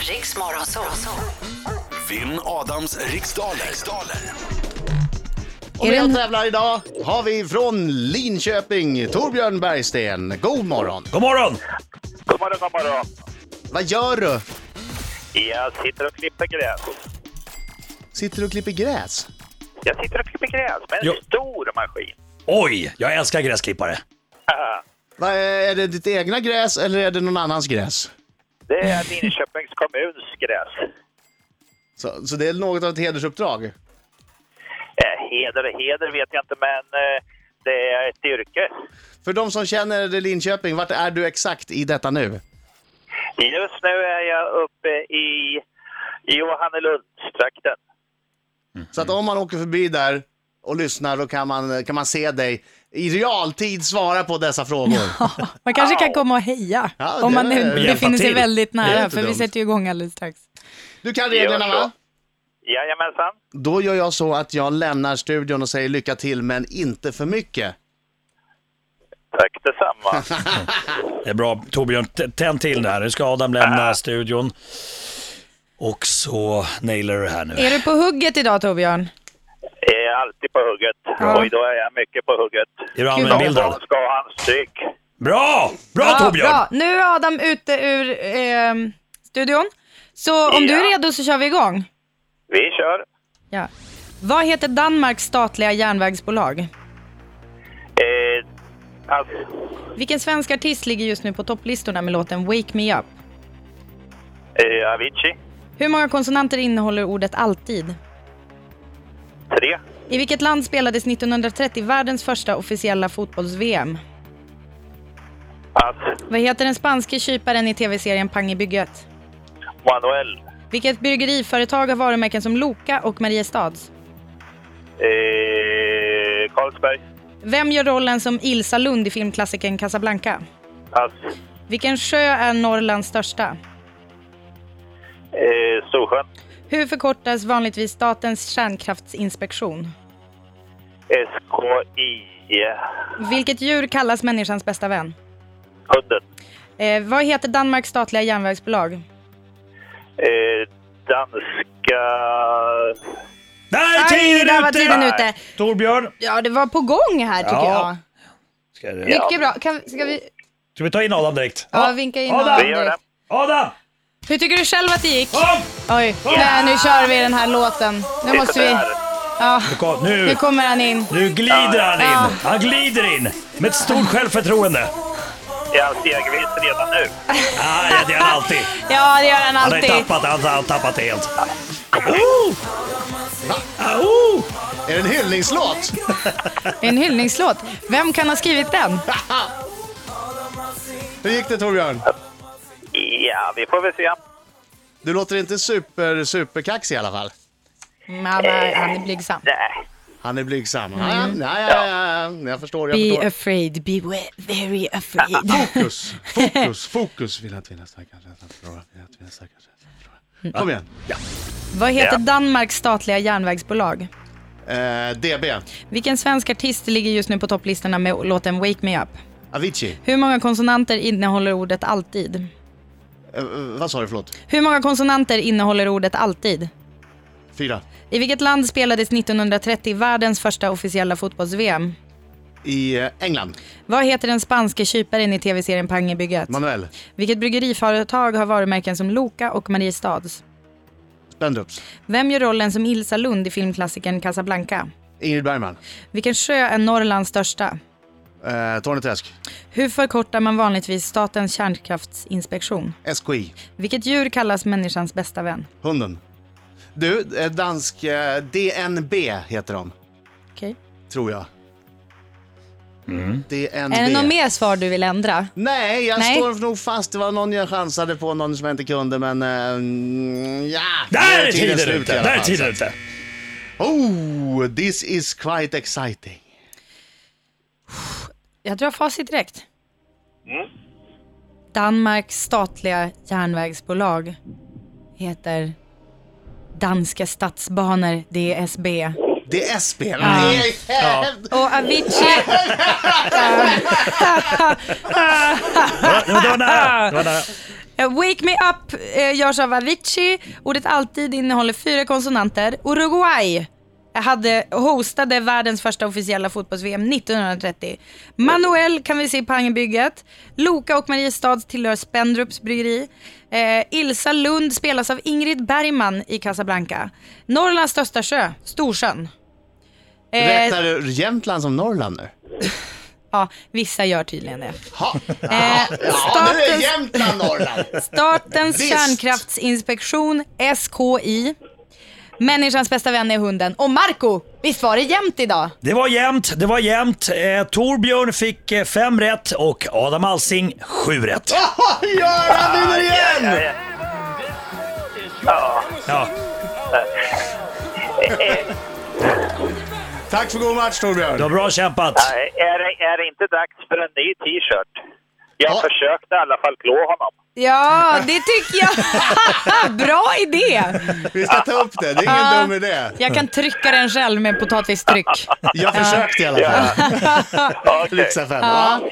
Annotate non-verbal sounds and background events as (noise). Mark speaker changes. Speaker 1: Riks Morgonzoo.
Speaker 2: Vinn Adams riksdaler. riksdaler.
Speaker 3: Och
Speaker 4: Är det en-
Speaker 3: med och tävlar idag har vi från Linköping Torbjörn Bergsten. God morgon!
Speaker 5: God morgon!
Speaker 6: God morgon, god morgon.
Speaker 3: Vad gör du?
Speaker 6: Jag sitter och klipper gräs.
Speaker 3: Sitter du och klipper gräs?
Speaker 6: Jag sitter och klipper gräs med en
Speaker 5: Jo.
Speaker 6: stor maskin. (laughs)
Speaker 5: Oj, jag älskar gräsklippare.
Speaker 6: Haha.
Speaker 3: Vad är det ditt egna gräs eller är det någon annans gräs?
Speaker 6: Det är Linköpings kommuns gräs.
Speaker 3: Så, så det är något av ett hedersuppdrag?
Speaker 6: Eh, Heder och heder vet jag inte, men eh, det är ett yrke.
Speaker 3: För de som känner det Linköping, vart är du exakt i detta nu?
Speaker 6: Just nu är jag uppe i Johannelundstrakten.
Speaker 3: Så att om man åker förbi där och lyssnar då kan man, kan man se dig i realtid svara på dessa frågor.
Speaker 4: Man kanske kan komma och heja
Speaker 3: Ja, det
Speaker 4: om man
Speaker 3: är-
Speaker 4: nu
Speaker 3: hjälpa
Speaker 4: befinner sig
Speaker 5: till.
Speaker 4: väldigt
Speaker 3: Det är
Speaker 4: nära,
Speaker 3: inte
Speaker 4: för vi
Speaker 3: dumt.
Speaker 4: sätter ju igång alldeles strax.
Speaker 3: Du kan reglerna
Speaker 6: Gör så.
Speaker 3: va?
Speaker 6: Jajamensan.
Speaker 3: Då gör jag så att jag lämnar studion och säger lycka till men inte för mycket.
Speaker 6: Tack detsamma.
Speaker 5: Det är bra Torbjörn, T- tänd till det här. Nu ska Adam
Speaker 4: Ah.
Speaker 5: lämna studion. Och så nailar du det här nu.
Speaker 4: Är du på hugget idag Torbjörn?
Speaker 6: Jag är alltid på hugget.
Speaker 4: Ja.
Speaker 6: Och idag är jag mycket på hugget.
Speaker 5: Är du
Speaker 6: Någon
Speaker 5: allmänbildad?
Speaker 6: ska ha hans stryk.
Speaker 5: Bra! Bra Torbjörn!
Speaker 4: bra. Nu är Adam ute ur ehm, studion. Så om du är
Speaker 6: Ja.
Speaker 4: redo så kör vi igång.
Speaker 6: Vi kör.
Speaker 4: Ja. Vad heter Danmarks statliga järnvägsbolag?
Speaker 6: Eh, pass.
Speaker 4: Vilken svensk artist ligger just nu på topplistorna med låten Wake Me Up?
Speaker 6: Eh, Avicii.
Speaker 4: Hur många konsonanter innehåller ordet alltid?
Speaker 6: Tre.
Speaker 4: I vilket land spelades 1930 världens första officiella fotbolls-VM?
Speaker 6: Pass.
Speaker 4: Vad heter den spanske kyparen i tv-serien Pang i bygget?
Speaker 6: Manuel.
Speaker 4: Vilket bryggeriföretag har varumärken som Loka och Mariestads?
Speaker 6: Eh, Carlsberg.
Speaker 4: Vem gör rollen som Ilsa Lund i filmklassikern Casablanca?
Speaker 6: Pass.
Speaker 4: Vilken sjö är Norrlands största?
Speaker 6: Eh, Storsjön.
Speaker 4: Hur förkortas vanligtvis Statens kärnkraftsinspektion?
Speaker 6: SKI.
Speaker 4: Vilket djur kallas människans bästa vän?
Speaker 6: Kudden.
Speaker 4: Eh, vad heter Danmarks statliga järnvägsbolag?
Speaker 6: Eh, danska...
Speaker 5: Där är
Speaker 4: Aj, där
Speaker 5: tiden
Speaker 4: var tiden
Speaker 5: ute!
Speaker 4: ute!
Speaker 5: Torbjörn!
Speaker 4: Ja, det var på gång här tycker
Speaker 5: Ja.
Speaker 4: jag.
Speaker 5: Ska, det-
Speaker 4: Mycket bra. Kan, ska vi
Speaker 5: ska vi ta in Adam direkt?
Speaker 4: ja, vinka in
Speaker 5: Adam.
Speaker 4: honom
Speaker 6: Vi gör
Speaker 4: direkt?
Speaker 6: det.
Speaker 5: Adam!
Speaker 4: Hur tycker du själv att det gick?
Speaker 5: Kom!
Speaker 4: Oj, nej nu kör vi den här låten. Nu måste vi... Ja,
Speaker 5: Nu kom-
Speaker 4: nu
Speaker 5: Nu,
Speaker 4: kommer han in.
Speaker 5: nu glider han
Speaker 4: Ja.
Speaker 5: in. Han glider in med ett stort självförtroende.
Speaker 6: Är han stegvis redan nu?
Speaker 5: Ah, ja, det är han alltid.
Speaker 4: Ja, det gör han
Speaker 5: Han har
Speaker 4: alltid.
Speaker 5: tappat, han har tappat det helt. Oh! Ah, oh!
Speaker 3: Är det en hyllningslåt?
Speaker 4: En hyllningslåt. Vem kan ha skrivit den?
Speaker 3: Hur gick det Torbjörn?
Speaker 6: Ja, vi får väl se.
Speaker 3: Du låter inte super, superkaxig i alla fall.
Speaker 4: Mm, Han är, han är blygsam.
Speaker 6: Nej.
Speaker 3: Han är blygsam. Ja, ja, ja, ja, ja. Jag förstår, jag
Speaker 4: Be
Speaker 3: förstår.
Speaker 4: afraid, be we- very
Speaker 5: Ah,
Speaker 4: afraid.
Speaker 3: Fokus, fokus, fokus. Vill att vinna starkare, rädd att förlora. Vill att vinna starkare, rädd att förlora. Kom igen.
Speaker 4: Vad heter
Speaker 6: Ja.
Speaker 4: Danmarks statliga järnvägsbolag?
Speaker 3: Eh, DB.
Speaker 4: Vilken svensk artist ligger just nu på topplistorna med låten Wake Me Up?
Speaker 3: Avicii.
Speaker 4: Hur många konsonanter innehåller ordet alltid?
Speaker 3: Eh, eh, vad sa du, förlåt?
Speaker 4: Hur många konsonanter innehåller ordet alltid?
Speaker 3: Fyra.
Speaker 4: I vilket land spelades 1930 världens första officiella fotbolls-VM?
Speaker 3: I eh, England.
Speaker 4: Vad heter den spanske kyparen i tv-serien Pang i bygget?
Speaker 3: Manuel.
Speaker 4: Vilket bryggeriföretag har varumärken som Loka och Mariestads?
Speaker 3: Spendrups.
Speaker 4: Vem gör rollen som Ilsa Lund i filmklassikern Casablanca?
Speaker 3: Ingrid Bergman.
Speaker 4: Vilken sjö är Norrlands största?
Speaker 3: Eh, Torneträsk.
Speaker 4: Hur förkortar man vanligtvis Statens kärnkraftsinspektion?
Speaker 3: SKI.
Speaker 4: Vilket djur kallas människans bästa vän?
Speaker 3: Hunden. Du, eh, dansk eh, DNB heter de,
Speaker 4: Okej.
Speaker 3: tror jag.
Speaker 5: Mm.
Speaker 3: DNB.
Speaker 4: Är det något mer svar du vill ändra?
Speaker 3: Nej, jag
Speaker 4: Nej.
Speaker 3: står nog fast. Det var någon jag chansade på, någon som jag inte kunde, men... eh, mm, ja,
Speaker 5: Där
Speaker 3: nu
Speaker 5: är tiden
Speaker 3: slut i
Speaker 5: ute!
Speaker 3: alla
Speaker 5: Där är
Speaker 3: fall,
Speaker 5: tiden
Speaker 3: så.
Speaker 5: ute!
Speaker 3: Oh, this is quite exciting.
Speaker 4: Jag drar facit direkt. Danmarks statliga järnvägsbolag heter Danske Statsbaner DSB.
Speaker 3: Det är S-spelare. Det är jävligt-
Speaker 4: Och Avicii...
Speaker 5: Ja, det
Speaker 3: (laughs)
Speaker 5: var nära. Det var nära.
Speaker 4: Eh, Wake Me Up eh, görs av Avicii. Ordet alltid innehåller fyra konsonanter. Uruguay eh, hade, hostade världens första officiella fotbolls-VM 1930. Manuel kan vi se i Pangebygget. Loka och Mariestad tillhör Spendrups bryggeri. Eh, Ilsa Lund spelas av Ingrid Bergman i Casablanca. Norrlands största sjö, Storsjön. Eh,
Speaker 3: Räknar du Jämtland som Norrland nu?
Speaker 4: ja, vissa gör tydligen det.
Speaker 3: Ha.
Speaker 4: Eh,
Speaker 3: Ja, nu är
Speaker 4: statens-
Speaker 3: Jämtland
Speaker 4: (laughs)
Speaker 3: Norrland.
Speaker 4: Statens
Speaker 3: Visst.
Speaker 4: kärnkraftsinspektion, SKI. Människans bästa vän är hunden. Och Marco, visst var det jämnt idag?
Speaker 5: Det var jämnt, det var jämnt. Eh, Torbjörn fick eh, fem rätt och Adam Alsing sju rätt.
Speaker 3: Göran vinner igen!
Speaker 6: Ja,
Speaker 5: Ja.
Speaker 6: ja.
Speaker 3: Tack för god match
Speaker 5: Det
Speaker 3: Torbjörn.
Speaker 5: var bra kämpat.
Speaker 6: Ja, är, det- är det inte dags för en ny t-shirt? Jag
Speaker 3: Ja.
Speaker 6: försökte i alla fall klå honom.
Speaker 4: Ja, det tycker jag. (laughs) Bra idé.
Speaker 3: Vi ska ta upp det, det är ingen
Speaker 4: Ja.
Speaker 3: dum idé.
Speaker 4: Jag kan trycka den själv med potatistryck.
Speaker 3: Jag försökte i alla fall.
Speaker 6: Ja. Okej.
Speaker 3: Lyxa fem. va?